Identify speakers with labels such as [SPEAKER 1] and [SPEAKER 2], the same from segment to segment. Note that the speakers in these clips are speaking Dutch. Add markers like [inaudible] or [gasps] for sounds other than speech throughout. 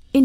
[SPEAKER 1] verscheen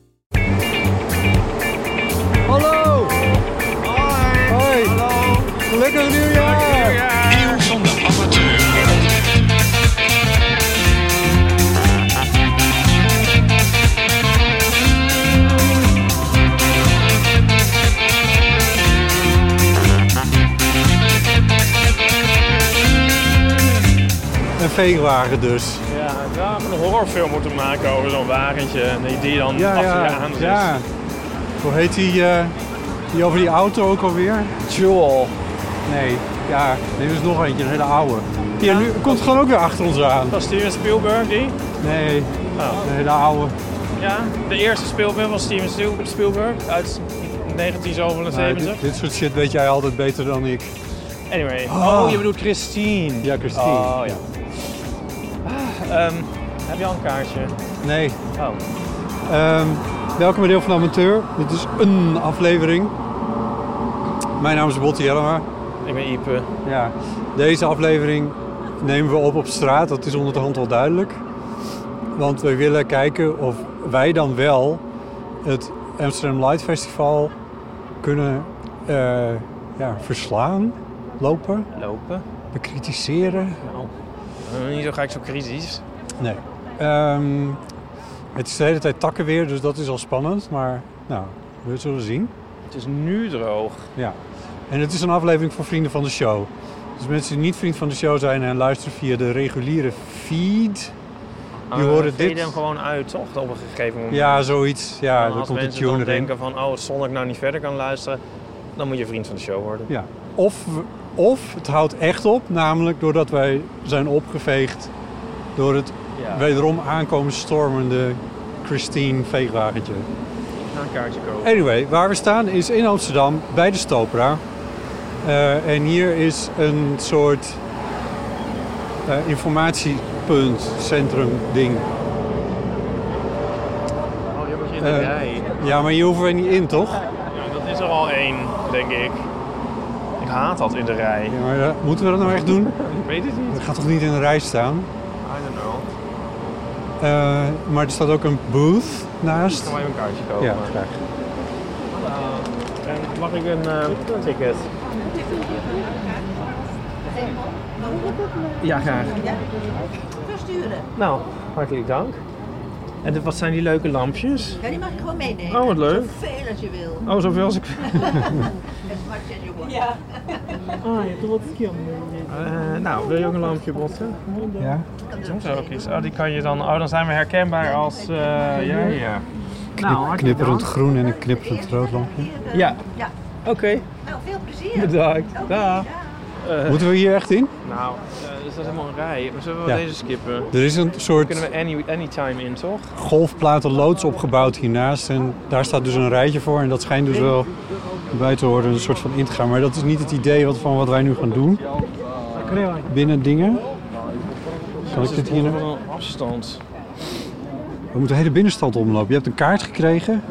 [SPEAKER 2] Hallo! Hoi! Hallo! Gelukkig nieuwjaar!
[SPEAKER 3] Eeuw van de amateur.
[SPEAKER 2] Een veewagen dus.
[SPEAKER 4] Ja, ja, we hebben een horrorfilm moeten maken over zo'n wagentje. en Die, die dan
[SPEAKER 2] Ja,
[SPEAKER 4] achter je
[SPEAKER 2] ja,
[SPEAKER 4] aan dus. zit.
[SPEAKER 2] ja. Hoe heet die, eh, die over die auto ook alweer? Jewel. Nee, ja, dit is nog eentje, een hele oude. Hier, nu komt gewoon ook weer achter ons aan.
[SPEAKER 4] Dat was Steven Spielberg, die?
[SPEAKER 2] Nee,
[SPEAKER 4] Oh.
[SPEAKER 2] een hele oude. Nou,
[SPEAKER 4] Ja, de eerste Spielberg was Steven Spiel- Spielberg uit 1977.
[SPEAKER 2] dit, dit soort shit weet jij altijd beter dan ik.
[SPEAKER 4] Anyway.
[SPEAKER 2] Oh.
[SPEAKER 4] Oh. je bedoelt Christine.
[SPEAKER 2] Ja, Christine.
[SPEAKER 4] Oh, ja. Ah, ehm, heb je al een kaartje?
[SPEAKER 2] Nee.
[SPEAKER 4] Oh.
[SPEAKER 2] Ehm, welkom bij Deel van de Amateur. Dit is een aflevering. Mijn naam is Botti Jellema.
[SPEAKER 4] Ik ben Ipe.
[SPEAKER 2] Ja, deze aflevering nemen we op op straat. Dat is onderhand wel duidelijk. Want we willen kijken of wij dan wel het Amsterdam Light Festival kunnen eh, ja, verslaan, lopen,
[SPEAKER 4] Lopen.
[SPEAKER 2] bekritiseren.
[SPEAKER 4] Nou, eh, niet zo ga ik zo kritisch.
[SPEAKER 2] Nee. Ehm, het is de hele tijd takken weer, dus dat is al spannend. Maar nou, we zullen zien.
[SPEAKER 4] Het is nu droog.
[SPEAKER 2] Ja. En het is een aflevering voor vrienden van de show. Dus mensen die niet vriend van de show zijn en luisteren via de reguliere feed.
[SPEAKER 4] Maar
[SPEAKER 2] Die
[SPEAKER 4] we
[SPEAKER 2] horen
[SPEAKER 4] veden
[SPEAKER 2] dit.
[SPEAKER 4] Eh, hem gewoon uit, toch? Op een gegeven moment.
[SPEAKER 2] Ja, zoiets. Ja,
[SPEAKER 4] En
[SPEAKER 2] dan
[SPEAKER 4] Nou, als
[SPEAKER 2] komt de
[SPEAKER 4] mensen dan
[SPEAKER 2] tuner in.
[SPEAKER 4] denken van, oh, zonder ik nou niet verder kan luisteren, dan moet je vriend van de show worden.
[SPEAKER 2] Ja. Of, we- of het houdt echt op, namelijk doordat wij zijn opgeveegd door het
[SPEAKER 4] Ja.
[SPEAKER 2] wederom aankomen stormende Christine veegwagentje.
[SPEAKER 4] Ik ga een kaartje kopen.
[SPEAKER 2] Anyway, waar we staan is in Amsterdam bij de Stopera. Eh, en hier is een soort eh, informatiepunt, centrum, ding.
[SPEAKER 4] Oh, je in
[SPEAKER 2] Eh, ja, maar hier hoeven we niet in, toch?
[SPEAKER 4] dat is er al één, denk ik. Ik haat dat in de rij.
[SPEAKER 2] Ja, maar, eh, moeten we dat nou echt doen?
[SPEAKER 4] Ik weet het niet.
[SPEAKER 2] Dat gaat toch niet in de rij staan?
[SPEAKER 4] I don't know.
[SPEAKER 2] Eh, maar er staat ook een booth
[SPEAKER 4] Ik
[SPEAKER 2] naast.
[SPEAKER 4] ga maar even een kaartje kopen.
[SPEAKER 2] Ja, graag.
[SPEAKER 4] En mag ik een eh, ticket? Ja, graag.
[SPEAKER 5] versturen.
[SPEAKER 4] Nou, hartelijk dank. En de- wat zijn die leuke lampjes?
[SPEAKER 5] Ja, die mag je gewoon meenemen.
[SPEAKER 4] Oh, wat leuk.
[SPEAKER 5] Zoveel als je wil.
[SPEAKER 4] Oh, zoveel
[SPEAKER 5] [laughs]
[SPEAKER 4] als ik
[SPEAKER 5] As much as you want.
[SPEAKER 4] [laughs] Ah, je doet het nou, wil je ook een lampje botten?
[SPEAKER 2] Ja.
[SPEAKER 4] Soms ook iets. Oh, die kan je dan. Oh, dan zijn we herkenbaar als. eh ja, ja. Nou,
[SPEAKER 2] Knipperend groen en een knipperend rood lampje.
[SPEAKER 5] Hier, eh,
[SPEAKER 4] Ja.
[SPEAKER 5] Ja.
[SPEAKER 4] Oké,
[SPEAKER 5] Nou, veel plezier.
[SPEAKER 4] bedankt.
[SPEAKER 5] Oké,
[SPEAKER 4] Dag.
[SPEAKER 5] ja.
[SPEAKER 2] Moeten we hier echt in?
[SPEAKER 4] Nou, eh, is dat helemaal een rij? Maar zullen we
[SPEAKER 2] Ja.
[SPEAKER 4] deze skippen?
[SPEAKER 2] Er is een
[SPEAKER 4] Kunnen
[SPEAKER 2] soort
[SPEAKER 4] we any, anytime in, toch?
[SPEAKER 2] golfplaten loods opgebouwd hiernaast. En daar staat dus een rijtje voor. En dat schijnt dus wel bij te horen, een soort van in te gaan. Maar dat is niet het idee wat, van wat wij nu gaan doen. Binnen dingen. Zal ik dit hier
[SPEAKER 4] Wat
[SPEAKER 2] nog?
[SPEAKER 4] een afstand.
[SPEAKER 2] We moeten de hele binnenstand omlopen. Je hebt een kaart gekregen.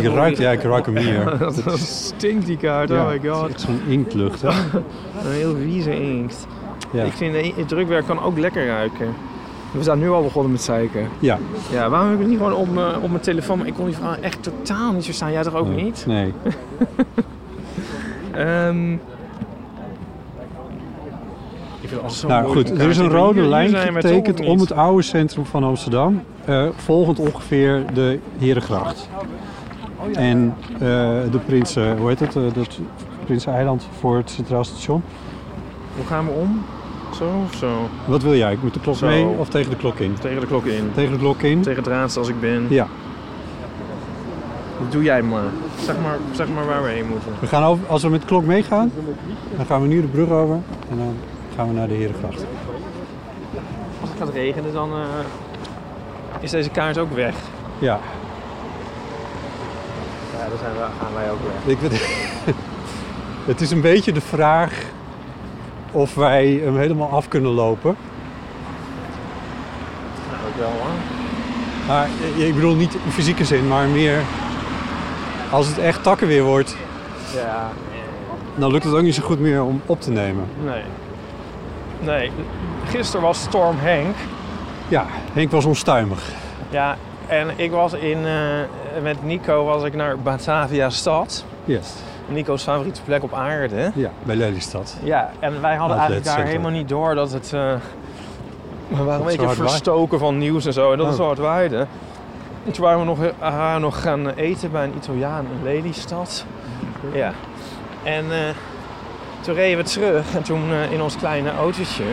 [SPEAKER 2] Die ruikt, ja, ik ruik hem [laughs] hier.
[SPEAKER 4] [laughs] Dat stinkt die kaart,
[SPEAKER 2] Ja,
[SPEAKER 4] oh my
[SPEAKER 2] het
[SPEAKER 4] god.
[SPEAKER 2] is echt zo'n inktlucht. Hè?
[SPEAKER 4] Een heel vieze inkt.
[SPEAKER 2] Ja.
[SPEAKER 4] Ik vind eh, het drukwerk kan ook lekker ruiken. We zijn nu al begonnen met zeiken.
[SPEAKER 2] ja.
[SPEAKER 4] Ja, waarom heb ik niet gewoon op mijn, op mijn telefoon? Maar ik kon die verhaal echt totaal niet verstaan. Jij toch ook niet?
[SPEAKER 2] Nee.
[SPEAKER 4] Ehm ik vind alles zo
[SPEAKER 2] Nou
[SPEAKER 4] mooi
[SPEAKER 2] goed,
[SPEAKER 4] van
[SPEAKER 2] er is een
[SPEAKER 4] elkaar.
[SPEAKER 2] rode
[SPEAKER 4] Hier- hier
[SPEAKER 2] lijn
[SPEAKER 4] zijn we toch,
[SPEAKER 2] getekend
[SPEAKER 4] of
[SPEAKER 2] om
[SPEAKER 4] niet?
[SPEAKER 2] het oude centrum van Amsterdam, eh, volgend ongeveer de Herengracht. En eh, de Prins, eh, hoe heet het, eh, dat Prins Eiland voor het Centraal Station.
[SPEAKER 4] Hoe gaan we om? Zo of zo?
[SPEAKER 2] Wat wil jij? Ik moet de klok
[SPEAKER 4] Zo.
[SPEAKER 2] mee of tegen de klok in?
[SPEAKER 4] Tegen de klok in.
[SPEAKER 2] Tegen de klok in?
[SPEAKER 4] Tegen het raadste als ik ben.
[SPEAKER 2] Ja.
[SPEAKER 4] Dat doe jij maar. Zeg maar, zeg maar waar we heen moeten.
[SPEAKER 2] We gaan over, als we met de klok meegaan, dan gaan we nu de brug over en dan gaan we naar de Herengracht.
[SPEAKER 4] Als het gaat regenen, dan eh, is deze kaart ook weg.
[SPEAKER 2] Ja,
[SPEAKER 4] Ja, dan zijn we, gaan wij ook weg.
[SPEAKER 2] ik weet, [laughs] het is een beetje de vraag of wij hem helemaal af kunnen lopen.
[SPEAKER 4] Nou, ook wel hoor.
[SPEAKER 2] Maar eh, ik bedoel niet in fysieke zin, maar meer als het echt takken weer wordt,
[SPEAKER 4] Ja,
[SPEAKER 2] dan lukt het ook niet zo goed meer om op te nemen.
[SPEAKER 4] nee. Nee, gisteren was Storm Henk.
[SPEAKER 2] Ja, Henk was onstuimig.
[SPEAKER 4] Ja, en ik was in, eh, met Nico was ik naar Batavia Stad.
[SPEAKER 2] Yes.
[SPEAKER 4] Nico's favoriete plek op aarde.
[SPEAKER 2] Ja, bij Lelystad.
[SPEAKER 4] Ja, en wij
[SPEAKER 2] Outlet
[SPEAKER 4] hadden eigenlijk daar
[SPEAKER 2] center.
[SPEAKER 4] helemaal niet door dat het... eh, we waren een
[SPEAKER 2] zo
[SPEAKER 4] beetje
[SPEAKER 2] hard waaide.
[SPEAKER 4] verstoken van nieuws en zo. En dat is
[SPEAKER 2] Oh.
[SPEAKER 4] zo hard waaide. En toen waren we nog, eh, nog gaan eten bij een Italiaan in Lelystad. Ja. En eh, toen reden we terug. En toen eh, in ons kleine autootje,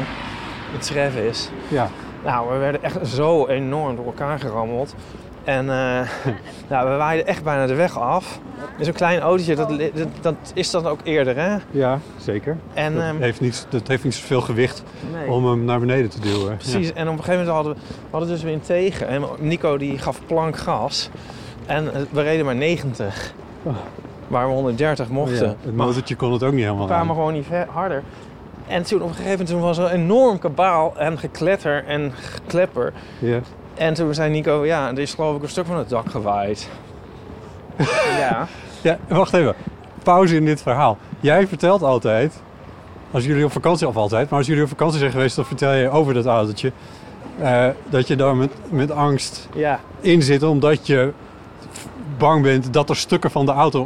[SPEAKER 4] de Travis.
[SPEAKER 2] Ja,
[SPEAKER 4] Nou, we werden echt zo enorm door elkaar gerammeld. En
[SPEAKER 2] [laughs]
[SPEAKER 4] eh, nou, we waaiden echt bijna de weg af. En Zo'n klein autootje, dat, li- dat, dat is dat ook eerder, hè?
[SPEAKER 2] ja zeker.
[SPEAKER 4] En,
[SPEAKER 2] dat, [laughs]
[SPEAKER 4] ehm,
[SPEAKER 2] heeft niet, dat heeft niet zoveel gewicht
[SPEAKER 4] nee.
[SPEAKER 2] om hem naar beneden te duwen.
[SPEAKER 4] Precies, en op een gegeven moment hadden we, we hadden dus weer een tegen. En Nico die gaf plank gas. En eh, we reden maar 90.
[SPEAKER 2] Oh.
[SPEAKER 4] Waar we 130
[SPEAKER 2] Ja.
[SPEAKER 4] mochten.
[SPEAKER 2] Ja, het motortje kon het ook niet helemaal
[SPEAKER 4] we kwamen
[SPEAKER 2] aan.
[SPEAKER 4] gewoon niet ver- harder. En toen op een gegeven moment toen was er een enorm kabaal en gekletter en geklepper.
[SPEAKER 2] Ja.
[SPEAKER 4] En toen zei Nico, ja, er is geloof ik een stuk van het dak gewaaid. [laughs] ja.
[SPEAKER 2] ja, wacht even. Pauze in dit verhaal. Jij vertelt altijd, als jullie op vakantie, of altijd, maar als jullie op vakantie zijn geweest, dan vertel je over dat autootje. eh, dat je daar met, met angst
[SPEAKER 4] Ja.
[SPEAKER 2] in zitten omdat je bang bent dat er stukken van de auto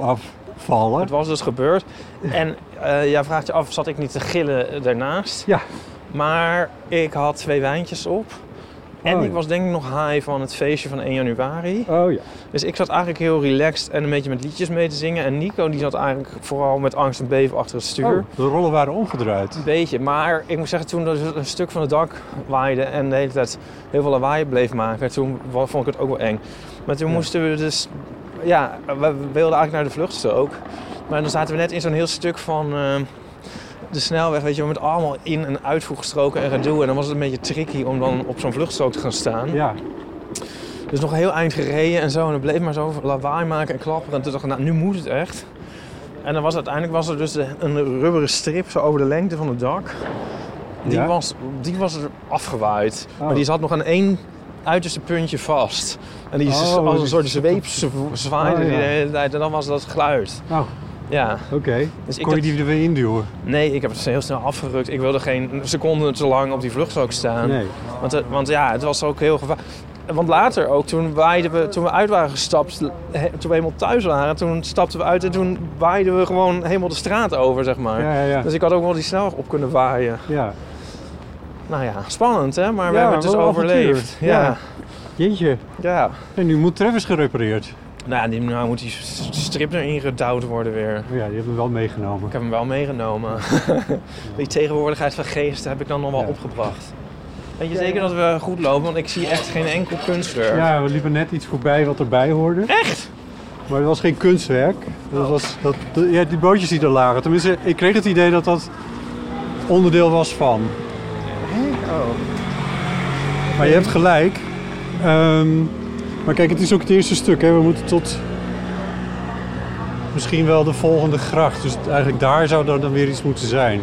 [SPEAKER 2] afvallen.
[SPEAKER 4] Het was dus gebeurd. En eh, jij vraagt je af, zat ik niet te gillen eh, daarnaast?
[SPEAKER 2] Ja.
[SPEAKER 4] Maar ik had twee wijntjes op. En
[SPEAKER 2] Oh,
[SPEAKER 4] ik
[SPEAKER 2] ja.
[SPEAKER 4] was denk ik nog high van het feestje van 1 januari.
[SPEAKER 2] Oh ja.
[SPEAKER 4] Dus ik zat eigenlijk heel relaxed en een beetje met liedjes mee te zingen. En Nico die zat eigenlijk vooral met angst en beven achter het stuur.
[SPEAKER 2] de rollen waren omgedraaid.
[SPEAKER 4] Een beetje, maar ik moet zeggen, toen er een stuk van het dak waaide en de hele tijd heel veel lawaai bleef maken, toen wa- vond ik het ook wel eng. Maar toen
[SPEAKER 2] Ja.
[SPEAKER 4] moesten we dus, ja, we wilden eigenlijk naar de vluchtstrook. Maar dan zaten we net in zo'n heel stuk van eh, de snelweg, weet je, wel, met allemaal in- en uitvoegstroken en gedoe. En dan was het een beetje tricky om dan op zo'n vluchtstrook te gaan staan.
[SPEAKER 2] Ja,
[SPEAKER 4] Dus nog een heel eind gereden en zo. En het bleef maar zo lawaai maken en klapperen. En toen dacht ik, nou, nu moet het echt. En dan was uiteindelijk was er dus de- een rubberen strip zo over de lengte van het dak. Die,
[SPEAKER 2] Ja?
[SPEAKER 4] was, die was er afgewaaid.
[SPEAKER 2] Oh.
[SPEAKER 4] Maar die zat nog aan één uiterste puntje vast. En die is
[SPEAKER 2] Oh,
[SPEAKER 4] als een
[SPEAKER 2] die-
[SPEAKER 4] soort zweep zwa- zwaaide
[SPEAKER 2] Oh,
[SPEAKER 4] die
[SPEAKER 2] ja.
[SPEAKER 4] de hele tijd. En dan was dat geluid.
[SPEAKER 2] nou,
[SPEAKER 4] Ja.
[SPEAKER 2] oké.
[SPEAKER 4] Dus ik
[SPEAKER 2] Kon je
[SPEAKER 4] heb-
[SPEAKER 2] die er weer induwen?
[SPEAKER 4] Nee, ik heb het heel snel afgerukt. Ik wilde geen seconde te lang op die vluchtstrook staan.
[SPEAKER 2] Nee.
[SPEAKER 4] Want, eh, want ja, het was ook heel gevaarlijk. Want later ook, toen, waaiden we, toen we uit waren gestapt, he- toen we helemaal thuis waren, toen stapten we uit en toen waaiden we gewoon helemaal de straat over, zeg maar.
[SPEAKER 2] Ja, ja, ja.
[SPEAKER 4] Dus ik had ook wel die snelweg op kunnen waaien.
[SPEAKER 2] ja.
[SPEAKER 4] Nou ja, spannend hè, maar we
[SPEAKER 2] Ja,
[SPEAKER 4] hebben het dus
[SPEAKER 2] wel een
[SPEAKER 4] overleefd.
[SPEAKER 2] avontuur.
[SPEAKER 4] Ja.
[SPEAKER 2] Ja.
[SPEAKER 4] ja.
[SPEAKER 2] Jeetje. En nu moet Travis gerepareerd.
[SPEAKER 4] Nou, ja, die, nou moet die s- strip erin gedouwd worden weer.
[SPEAKER 2] Maar Oh ja, die hebben we wel meegenomen.
[SPEAKER 4] Ik heb hem wel meegenomen. [laughs] Die tegenwoordigheid van geest heb ik dan nog wel
[SPEAKER 2] Ja.
[SPEAKER 4] opgebracht. Weet je zeker dat we goed lopen? Want ik zie echt geen enkel kunstwerk.
[SPEAKER 2] Ja, we liepen net iets voorbij wat erbij hoorde. Echt? Maar het was geen kunstwerk. Dat was, dat, de- ja, die bootjes die er lagen. Tenminste, ik kreeg het idee dat dat onderdeel was van.
[SPEAKER 4] Oh.
[SPEAKER 2] Maar je hebt gelijk. Ehm, maar kijk, het is ook het eerste stuk. Hè. We moeten tot misschien wel de volgende gracht. Dus eigenlijk daar zou er dan weer iets moeten zijn.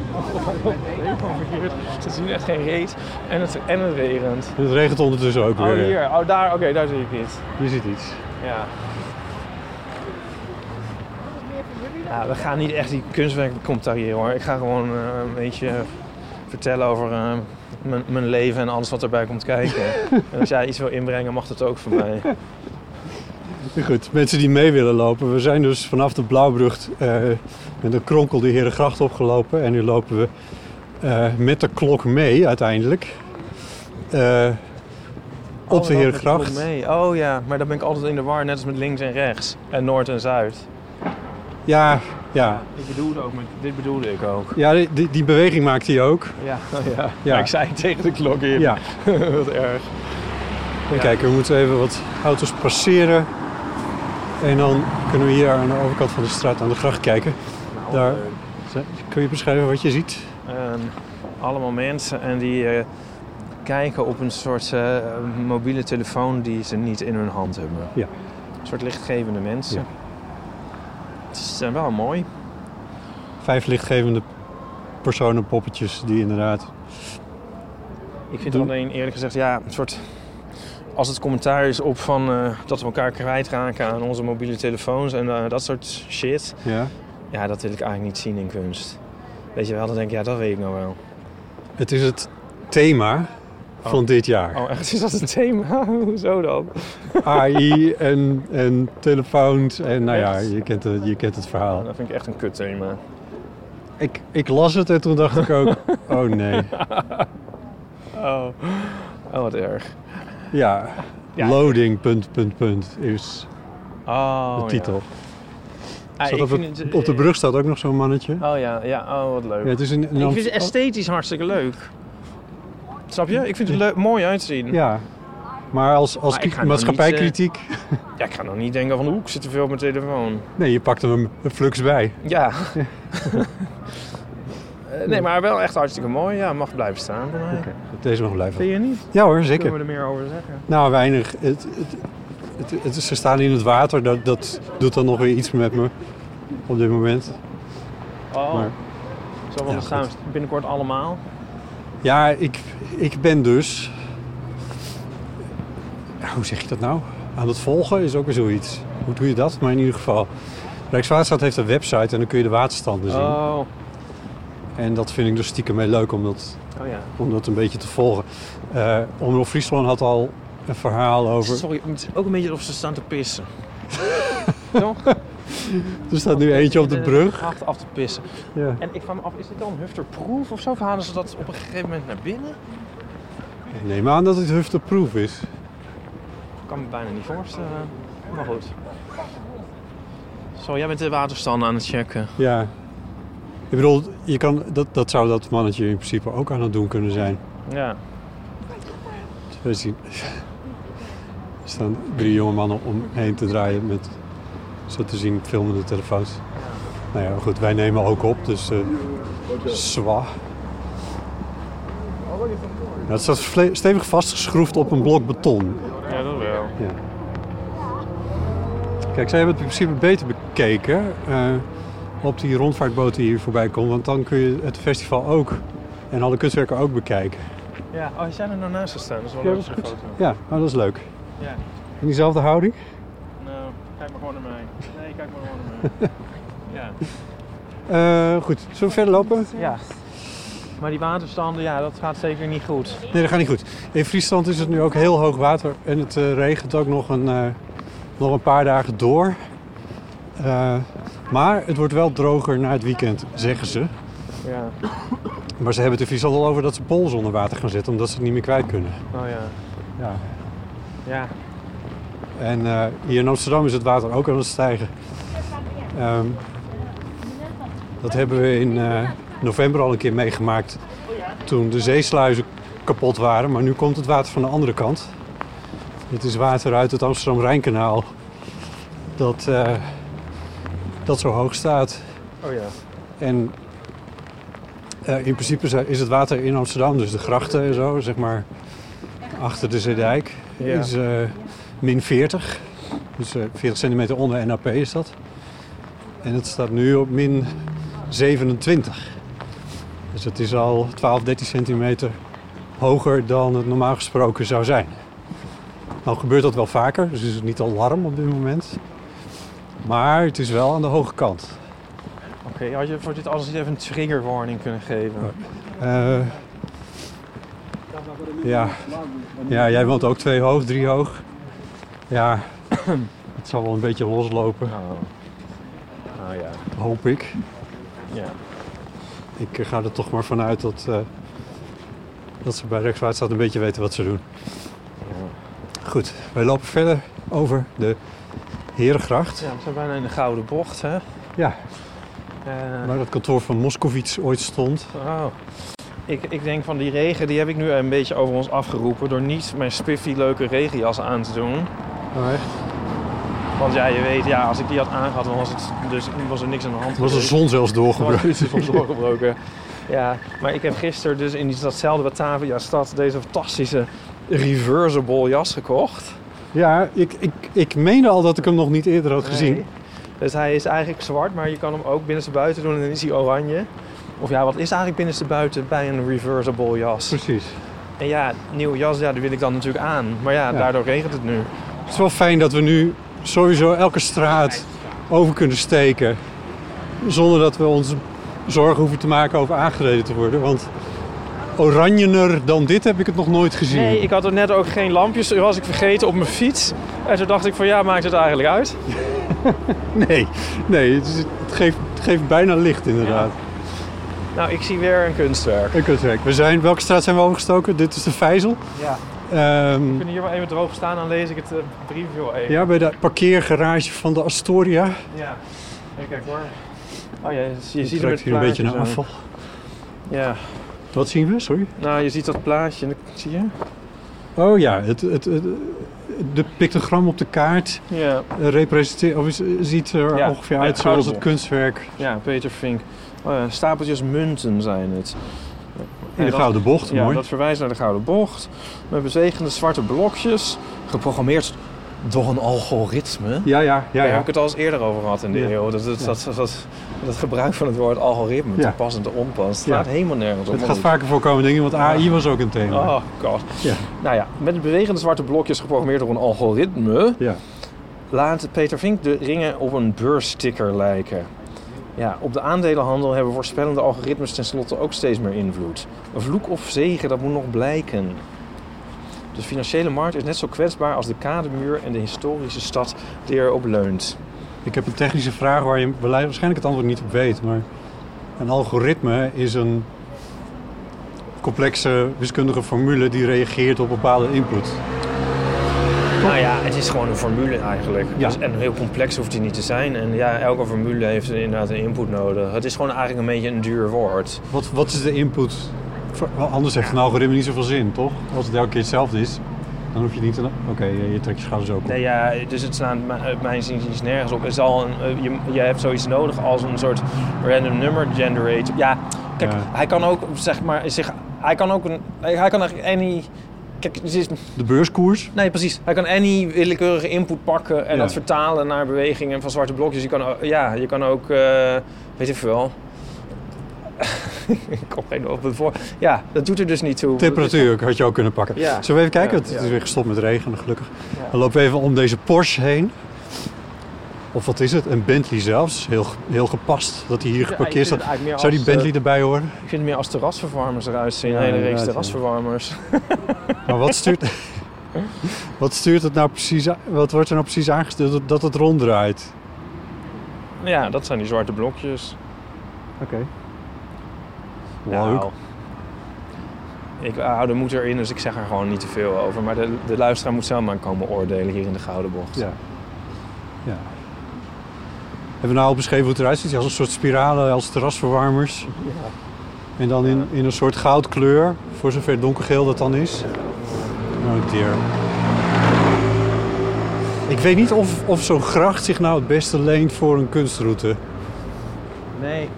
[SPEAKER 4] Ze zien echt geen reet en het, en het regent.
[SPEAKER 2] En het regent ondertussen ook
[SPEAKER 4] Oh,
[SPEAKER 2] weer.
[SPEAKER 4] hier. Oh, daar. Oké, daar zie ik niet.
[SPEAKER 2] Je ziet iets.
[SPEAKER 4] Ja. ja. We gaan niet echt die kunstwerk commentariëren hoor. Ik ga gewoon eh, een beetje vertellen over eh, mijn, mijn
[SPEAKER 2] [laughs]
[SPEAKER 4] leven en alles wat erbij komt kijken. en als jij iets wil inbrengen, mag dat ook voor mij.
[SPEAKER 2] Goed, mensen die mee willen lopen. We zijn dus vanaf de Blauwbrug eh, met een kronkel de Herengracht opgelopen. En nu lopen we eh, met de klok mee uiteindelijk. Eh, op
[SPEAKER 4] Oh,
[SPEAKER 2] de
[SPEAKER 4] dat
[SPEAKER 2] Herengracht.
[SPEAKER 4] bedoel ik Mee. Oh ja, maar dan ben ik altijd in de war, net als met links en rechts. En noord en zuid.
[SPEAKER 2] Ja, ja.
[SPEAKER 4] Ik bedoelde ook met, dit bedoelde ik ook.
[SPEAKER 2] ja die- die, die beweging maakt hij ook.
[SPEAKER 4] Ja, ja.
[SPEAKER 2] Ja.
[SPEAKER 4] Maar [laughs] ik zei tegen de klok in.
[SPEAKER 2] Ja.
[SPEAKER 4] [laughs] Wat erg.
[SPEAKER 2] En kijk, we moeten even wat auto's passeren. En dan kunnen we hier aan de overkant van de straat aan de gracht kijken.
[SPEAKER 4] Nou,
[SPEAKER 2] Daar.
[SPEAKER 4] eh,
[SPEAKER 2] Kun je beschrijven wat je ziet?
[SPEAKER 4] Ehm, allemaal mensen en die eh, kijken op een soort eh, mobiele telefoon die ze niet in hun hand hebben.
[SPEAKER 2] Ja.
[SPEAKER 4] Een soort lichtgevende mensen.
[SPEAKER 2] Ja.
[SPEAKER 4] Het is eh, wel mooi.
[SPEAKER 2] Vijf lichtgevende personen, poppetjes, die inderdaad...
[SPEAKER 4] Ik vind
[SPEAKER 2] Doen-
[SPEAKER 4] alleen eerlijk gezegd, ja, een soort. Als het commentaar is op van eh, dat we elkaar kwijtraken aan onze mobiele telefoons en eh, dat soort shit.
[SPEAKER 2] Ja.
[SPEAKER 4] Ja, dat wil ik eigenlijk niet zien in kunst. Weet je wel, dan denk ik, ja, dat weet ik nou wel.
[SPEAKER 2] Het is het thema van dit jaar.
[SPEAKER 4] Oh, echt? [laughs] Is dat een thema? Hoezo dan? Oh. [laughs]
[SPEAKER 2] AI en, en telefoons en nou ja,
[SPEAKER 4] Echt?
[SPEAKER 2] je kent het, je kent het verhaal.
[SPEAKER 4] Dat vind ik echt een kut thema.
[SPEAKER 2] Ik, ik las het en toen dacht ik
[SPEAKER 4] [laughs]
[SPEAKER 2] ook, oh nee.
[SPEAKER 4] Oh, [gasps] oh wat erg.
[SPEAKER 2] Ja,
[SPEAKER 4] Ja.
[SPEAKER 2] loading, punt, punt, punt, is
[SPEAKER 4] Oh,
[SPEAKER 2] de titel.
[SPEAKER 4] Ja. Ah,
[SPEAKER 2] Staat
[SPEAKER 4] ik
[SPEAKER 2] op, het-
[SPEAKER 4] vind het,
[SPEAKER 2] op de
[SPEAKER 4] eh,
[SPEAKER 2] brug staat ook nog zo'n mannetje.
[SPEAKER 4] Oh ja, ja, oh wat leuk.
[SPEAKER 2] Ja, het is een, oh, een
[SPEAKER 4] ik vind het
[SPEAKER 2] amf-
[SPEAKER 4] esthetisch hartstikke leuk. Snap je? Ik vind het leuk, mooi uitzien.
[SPEAKER 2] Ja, maar als, als
[SPEAKER 4] Maar ik
[SPEAKER 2] ki-
[SPEAKER 4] ga nou
[SPEAKER 2] maatschappijkritiek...
[SPEAKER 4] Ja, ik ga nog niet denken van hoe ik zit te veel op mijn telefoon.
[SPEAKER 2] Nee, je pakt hem een flux bij.
[SPEAKER 4] Ja. [laughs] Eh, nee, maar wel echt hartstikke mooi. Ja, mag blijven staan voor mij.
[SPEAKER 2] Deze mag blijven.
[SPEAKER 4] Vind je niet?
[SPEAKER 2] Ja hoor,
[SPEAKER 4] Kunnen
[SPEAKER 2] zeker.
[SPEAKER 4] we er meer over zeggen?
[SPEAKER 2] Nou, weinig. Het, het, het, het- ze staan in het water, dat, dat doet dan nog weer iets met me op dit moment.
[SPEAKER 4] Oh,
[SPEAKER 2] Maar-
[SPEAKER 4] zo van
[SPEAKER 2] Ja,
[SPEAKER 4] we staan we binnenkort allemaal.
[SPEAKER 2] Ja, ik, ik ben dus. Ja, hoe zeg je dat nou? Aan het volgen is ook weer zoiets. Hoe doe je dat? Maar in ieder geval. Rijkswaterstaat heeft een website en dan kun je de waterstanden zien.
[SPEAKER 4] Oh,
[SPEAKER 2] En dat vind ik dus stiekem heel leuk om dat,
[SPEAKER 4] oh ja.
[SPEAKER 2] om dat een beetje te volgen. Eh Omroep Friesland had al een verhaal over.
[SPEAKER 4] Sorry, het is ook een beetje of ze staan te
[SPEAKER 2] [laughs]
[SPEAKER 4] pissen. Toch?
[SPEAKER 2] Er staat nu eentje op de brug.
[SPEAKER 4] Achter Eh, af te pissen.
[SPEAKER 2] Ja.
[SPEAKER 4] En ik vraag me af, is dit dan hufterproof of zo? Of halen ze dat op een gegeven moment naar binnen?
[SPEAKER 2] Ik neem aan dat het hufteproof is.
[SPEAKER 4] Ik kan me bijna niet voorstellen. Maar goed. Zo, jij bent de waterstand aan het checken.
[SPEAKER 2] Ja. Ik bedoel, je kan, dat, dat zou dat mannetje in principe ook aan het doen kunnen zijn.
[SPEAKER 4] Ja.
[SPEAKER 2] We zien. [laughs] Er staan drie jonge mannen omheen te draaien met, zo te zien, filmende telefoons. Nou ja, goed, wij nemen ook op, dus eh zwa. Nou, het staat vle- stevig vastgeschroefd op een blok beton.
[SPEAKER 4] Ja, dat wel.
[SPEAKER 2] Ja. Kijk, zij hebben het in principe beter bekeken eh, op die rondvaartboot die hier voorbij komt. Want dan kun je het festival ook en alle kunstwerken ook bekijken.
[SPEAKER 4] Ja, oh, jij zijn er nou naast gestaan. Dat is wel
[SPEAKER 2] Ja,
[SPEAKER 4] een
[SPEAKER 2] dat is
[SPEAKER 4] leuke
[SPEAKER 2] goed.
[SPEAKER 4] foto.
[SPEAKER 2] Ja, nou, dat is leuk.
[SPEAKER 4] Ja.
[SPEAKER 2] In diezelfde houding?
[SPEAKER 4] Nou, kijk maar gewoon naar mij. Nee, kijk maar gewoon [laughs] naar mij. ja.
[SPEAKER 2] Eh, goed, zullen we verder lopen?
[SPEAKER 4] ja. Maar die waterstanden, ja, dat gaat zeker niet goed.
[SPEAKER 2] Nee, dat gaat niet goed. In Friesland is het nu ook heel hoog water en het eh, regent ook nog een, eh, nog een paar dagen door. Eh, maar het wordt wel droger na het weekend, zeggen ze.
[SPEAKER 4] Ja.
[SPEAKER 2] Maar ze hebben het in Friesland al over dat ze pols onder water gaan zetten, omdat ze het niet meer kwijt kunnen.
[SPEAKER 4] Oh ja.
[SPEAKER 2] Ja.
[SPEAKER 4] Ja.
[SPEAKER 2] En eh, hier in Amsterdam is het water ook aan het stijgen. Ehm, dat hebben we in eh, november al een keer meegemaakt toen de zeesluizen kapot waren. Maar nu komt het water van de andere kant. Dit is water uit het Amsterdam-Rijnkanaal dat, eh, dat zo hoog staat.
[SPEAKER 4] Oh ja.
[SPEAKER 2] En eh, in principe zijn- is het water in Amsterdam, dus de grachten en zo, zeg maar, achter de Zeedijk,
[SPEAKER 4] Ja.
[SPEAKER 2] is eh, min 40. Dus eh, 40 centimeter onder NAP is dat. En het staat nu op min 27. Dus het is al 12, 13 centimeter hoger dan het normaal gesproken zou zijn. Nou gebeurt dat wel vaker, dus is het niet al warm op dit moment. Maar het is wel aan de hoge kant.
[SPEAKER 4] Oké, had je voor dit alles niet even een trigger warning kunnen geven?
[SPEAKER 2] Eh, ja. [clears throat] ja, jij woont ook twee hoog, drie hoog. Ja, Het zal wel een beetje loslopen,
[SPEAKER 4] Nou, nou ja,
[SPEAKER 2] hoop ik.
[SPEAKER 4] ja.
[SPEAKER 2] Ik eh, ga er toch maar vanuit dat, eh, dat ze bij Rijkswaterstaat een beetje weten wat ze doen. Goed, wij lopen verder over de Herengracht.
[SPEAKER 4] ja we zijn bijna in de gouden bocht, hè?
[SPEAKER 2] Ja,
[SPEAKER 4] Eh,
[SPEAKER 2] waar het kantoor van Moskovits ooit stond.
[SPEAKER 4] oh. ik, ik denk van die regen, die heb ik nu een beetje over ons afgeroepen... door niet mijn spiffy leuke regenjas aan te doen.
[SPEAKER 2] Nou, echt?
[SPEAKER 4] Want ja, je weet, ja, als ik die had aangehad, dan was, het, dus, was er niks aan de hand.
[SPEAKER 2] Er was de
[SPEAKER 4] geweest.
[SPEAKER 2] zon zelfs
[SPEAKER 4] Gewoon
[SPEAKER 2] doorgebroken.
[SPEAKER 4] iets van doorgebroken. Ja, maar ik heb gisteren dus in die- datzelfde Batavia-stad deze fantastische reversible jas gekocht.
[SPEAKER 2] Ja, ik, ik, ik meende al dat ik hem nog niet eerder had gezien.
[SPEAKER 4] Nee. Dus hij is eigenlijk zwart, maar je kan hem ook binnenstebuiten doen en dan is hij oranje. Of ja, wat is eigenlijk binnenstebuiten bij een reversible jas?
[SPEAKER 2] Precies.
[SPEAKER 4] En ja, nieuwe jas, ja, die wil ik dan natuurlijk aan. Maar ja,
[SPEAKER 2] Ja.
[SPEAKER 4] daardoor regent het nu.
[SPEAKER 2] Het is wel fijn dat we nu sowieso elke straat over kunnen steken. Zonder dat we ons zorgen hoeven te maken over aangereden te worden. Want oranjener dan dit heb ik het nog nooit gezien.
[SPEAKER 4] Nee, ik had er net ook geen lampjes. Die was ik vergeten op mijn fiets. En toen dacht ik van ja, maakt het eigenlijk uit?
[SPEAKER 2] [laughs] nee, nee, het, is- het geeft, het geeft bijna licht inderdaad.
[SPEAKER 4] Nou, ik zie weer een kunstwerk.
[SPEAKER 2] Ik het werk. We zijn, welke straat zijn we overgestoken? Dit is de Vijzel.
[SPEAKER 4] Ja.
[SPEAKER 2] Ehm,
[SPEAKER 4] We kunnen hier wel even droog staan, dan lees ik het eh, briefje wel even.
[SPEAKER 2] ja, bij de parkeergarage van de Astoria.
[SPEAKER 4] Ja. Even kijken hoor. Oh ja, je, je
[SPEAKER 2] Het
[SPEAKER 4] ziet hem
[SPEAKER 2] ruikt
[SPEAKER 4] met
[SPEAKER 2] hier een beetje naar
[SPEAKER 4] plaatjes
[SPEAKER 2] afval.
[SPEAKER 4] aan. Ja.
[SPEAKER 2] Wat zien we? Sorry.
[SPEAKER 4] Nou, je ziet dat plaatje. dat- Zie je?
[SPEAKER 2] Oh ja, het, het, het, de pictogram op de kaart
[SPEAKER 4] Ja.
[SPEAKER 2] eh, representeert, of is- ziet er
[SPEAKER 4] Ja,
[SPEAKER 2] ongeveer
[SPEAKER 4] bij
[SPEAKER 2] uit
[SPEAKER 4] het
[SPEAKER 2] zoals het
[SPEAKER 4] Gouden
[SPEAKER 2] kunstwerk
[SPEAKER 4] Ja, Peter Fink. Oh ja, stapeltjes munten zijn het.
[SPEAKER 2] in
[SPEAKER 4] Ja,
[SPEAKER 2] de
[SPEAKER 4] dat-
[SPEAKER 2] Gouden Bocht.
[SPEAKER 4] Ja,
[SPEAKER 2] mooi.
[SPEAKER 4] dat verwijst naar de gouden bocht. Met bezegende zwarte blokjes. Geprogrammeerd door een algoritme.
[SPEAKER 2] ja, ja, ja.
[SPEAKER 4] Daar heb
[SPEAKER 2] ja.
[SPEAKER 4] ik het al eens eerder over gehad in de
[SPEAKER 2] Ja.
[SPEAKER 4] eeuw. Dat, dat, dat, dat, dat, dat gebruik van het woord algoritme,
[SPEAKER 2] Ja.
[SPEAKER 4] toepassend en onpas,
[SPEAKER 2] Ja.
[SPEAKER 4] staat helemaal nergens op.
[SPEAKER 2] Het
[SPEAKER 4] maar
[SPEAKER 2] gaat
[SPEAKER 4] goed.
[SPEAKER 2] vaker voorkomen dingen, want AI was ook een thema.
[SPEAKER 4] Oh god.
[SPEAKER 2] Ja.
[SPEAKER 4] Nou ja, met bewegende zwarte blokjes geprogrammeerd door een algoritme...
[SPEAKER 2] Ja.
[SPEAKER 4] laat Peter Vink de ringen op een beurssticker lijken. Ja, op de aandelenhandel hebben voorspellende algoritmes tenslotte ook steeds meer invloed. Een vloek of zegen, dat moet nog blijken. De financiële markt is net zo kwetsbaar als de kademuur en de historische stad die erop leunt.
[SPEAKER 2] Ik heb een technische vraag waar je belei- waarschijnlijk het antwoord niet op weet, maar een algoritme is een complexe wiskundige formule die reageert op bepaalde input.
[SPEAKER 4] Nou ja, het is gewoon een formule eigenlijk.
[SPEAKER 2] Ja.
[SPEAKER 4] Dus, en heel complex hoeft die niet te zijn. En ja, elke formule heeft inderdaad een input nodig. Het is gewoon eigenlijk een beetje een duur woord.
[SPEAKER 2] Wat, wat is de input? Voor- wel, Anders heeft een algoritme niet zoveel zin, toch? Als het elke keer hetzelfde is, dan hoef je niet te... Oké, je, je trekt je schouders ook op.
[SPEAKER 4] Nee, ja, dus het slaat m- uit mijn zin nergens op. Er zal een, eh, je, je hebt zoiets nodig als een soort random number generator. Ja, kijk,
[SPEAKER 2] Ja.
[SPEAKER 4] hij kan ook zeg maar zich. Hij kan ook een. Hij hij kan eigenlijk any. Kijk, het is,
[SPEAKER 2] De beurskoers?
[SPEAKER 4] nee, precies. Hij kan any willekeurige input pakken en
[SPEAKER 2] Ja.
[SPEAKER 4] dat vertalen naar bewegingen van zwarte blokjes. Je kan, o- ja, je kan ook, eh, weet ik veel. [laughs] Ik kom geen op het voor. Ja, dat doet er dus niet toe.
[SPEAKER 2] Temperatuur had je ook kunnen pakken.
[SPEAKER 4] Ja.
[SPEAKER 2] Zullen we even kijken?
[SPEAKER 4] Ja,
[SPEAKER 2] het is
[SPEAKER 4] ja.
[SPEAKER 2] weer gestopt met regen, gelukkig. Dan lopen we even om deze Porsche heen. Of wat is het? Een Bentley zelfs. Heel, heel gepast dat hij hier
[SPEAKER 4] Ja, ik
[SPEAKER 2] geparkeerd
[SPEAKER 4] vind
[SPEAKER 2] staat.
[SPEAKER 4] het eigenlijk meer
[SPEAKER 2] Zou die
[SPEAKER 4] als, eh,
[SPEAKER 2] Bentley erbij horen?
[SPEAKER 4] Ik vind het meer als terrasverwarmers eruit zien.
[SPEAKER 2] Ja,
[SPEAKER 4] een hele
[SPEAKER 2] inderdaad,
[SPEAKER 4] reeks
[SPEAKER 2] ja.
[SPEAKER 4] terrasverwarmers.
[SPEAKER 2] Maar wat
[SPEAKER 4] [laughs]
[SPEAKER 2] stuurt, wat stuurt het nou precies aan- Wat wordt er nou precies aangestuurd dat- dat het ronddraait?
[SPEAKER 4] Ja, dat zijn die zwarte blokjes.
[SPEAKER 2] Oké.
[SPEAKER 4] Nou,
[SPEAKER 2] Leuk.
[SPEAKER 4] Ik hou de moeder in, dus ik zeg er gewoon niet te veel over. Maar de, de luisteraar moet zelf maar komen oordelen hier in de Gouden Bocht.
[SPEAKER 2] Ja. ja. Hebben we nou al beschreven hoe het eruit ziet? Als een soort spiralen, als terrasverwarmers. En dan in, in een soort goudkleur, voor zover donkergeel dat dan is. Oh dear. Ik weet niet of, of zo'n gracht zich nou het beste leent voor een kunstroute.
[SPEAKER 4] Nee.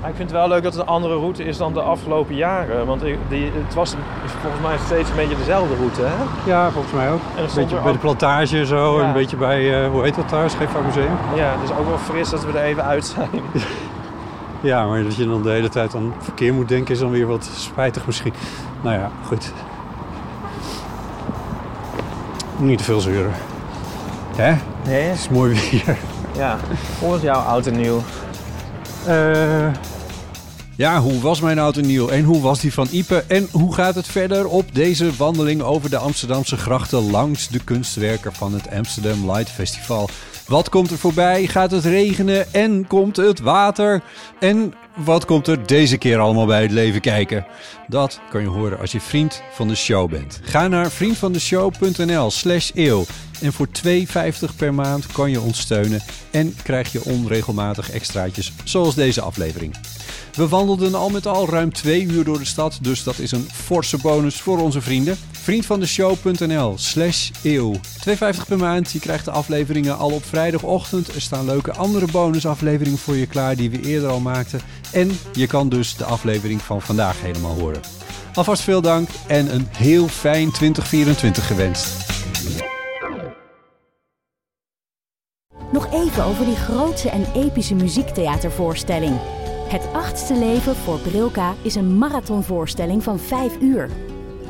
[SPEAKER 4] Maar ik vind het wel leuk dat het een andere route is dan de afgelopen jaren. Want ik- die, het was volgens mij steeds een beetje dezelfde route, hè?
[SPEAKER 2] Ja, volgens mij ook.
[SPEAKER 4] er
[SPEAKER 2] Een
[SPEAKER 4] stond
[SPEAKER 2] beetje
[SPEAKER 4] er
[SPEAKER 2] bij de
[SPEAKER 4] ook-
[SPEAKER 2] plantage zo,
[SPEAKER 4] Ja.
[SPEAKER 2] en een beetje bij, eh, hoe heet dat daar, Scheepvaartmuseum?
[SPEAKER 4] Ja, dus ook wel fris dat we er even uit zijn.
[SPEAKER 2] Ja, maar dat je dan de hele tijd aan verkeer moet denken is dan weer wat spijtig misschien. Nou ja, goed. Niet te veel zeuren. Hè? Het
[SPEAKER 4] Nee?
[SPEAKER 2] is mooi weer.
[SPEAKER 4] Ja. Volgens jou oud en nieuw.
[SPEAKER 2] Eh, Ja, hoe was mijn auto nieuw en hoe was die van Ipe? En hoe gaat het verder op deze wandeling over de Amsterdamse grachten langs de kunstwerken van het Amsterdam Light Festival? Wat komt er voorbij? Gaat het regenen? En komt het water? En wat komt er deze keer allemaal bij het leven kijken? Dat kan je horen als je vriend van de show bent. Ga naar vriendvandeshow.nl slash eeuw. En voor 2,50 per maand kan je ons steunen en krijg je onregelmatig extraatjes zoals deze aflevering. We wandelden al met al ruim twee uur door de stad, dus dat is een forse bonus voor onze vrienden. Vriendvandeshow.nl slash eeuw. 2,50 per maand, je krijgt de afleveringen al op vrijdagochtend. Er staan leuke andere bonusafleveringen voor je klaar die we eerder al maakten. En je kan dus de aflevering van vandaag helemaal horen. Alvast veel dank en een heel fijn 2024 gewenst.
[SPEAKER 1] Nog even over die grootse en epische muziektheatervoorstelling. Het achtste leven voor Brilka is een marathonvoorstelling van 5 uur.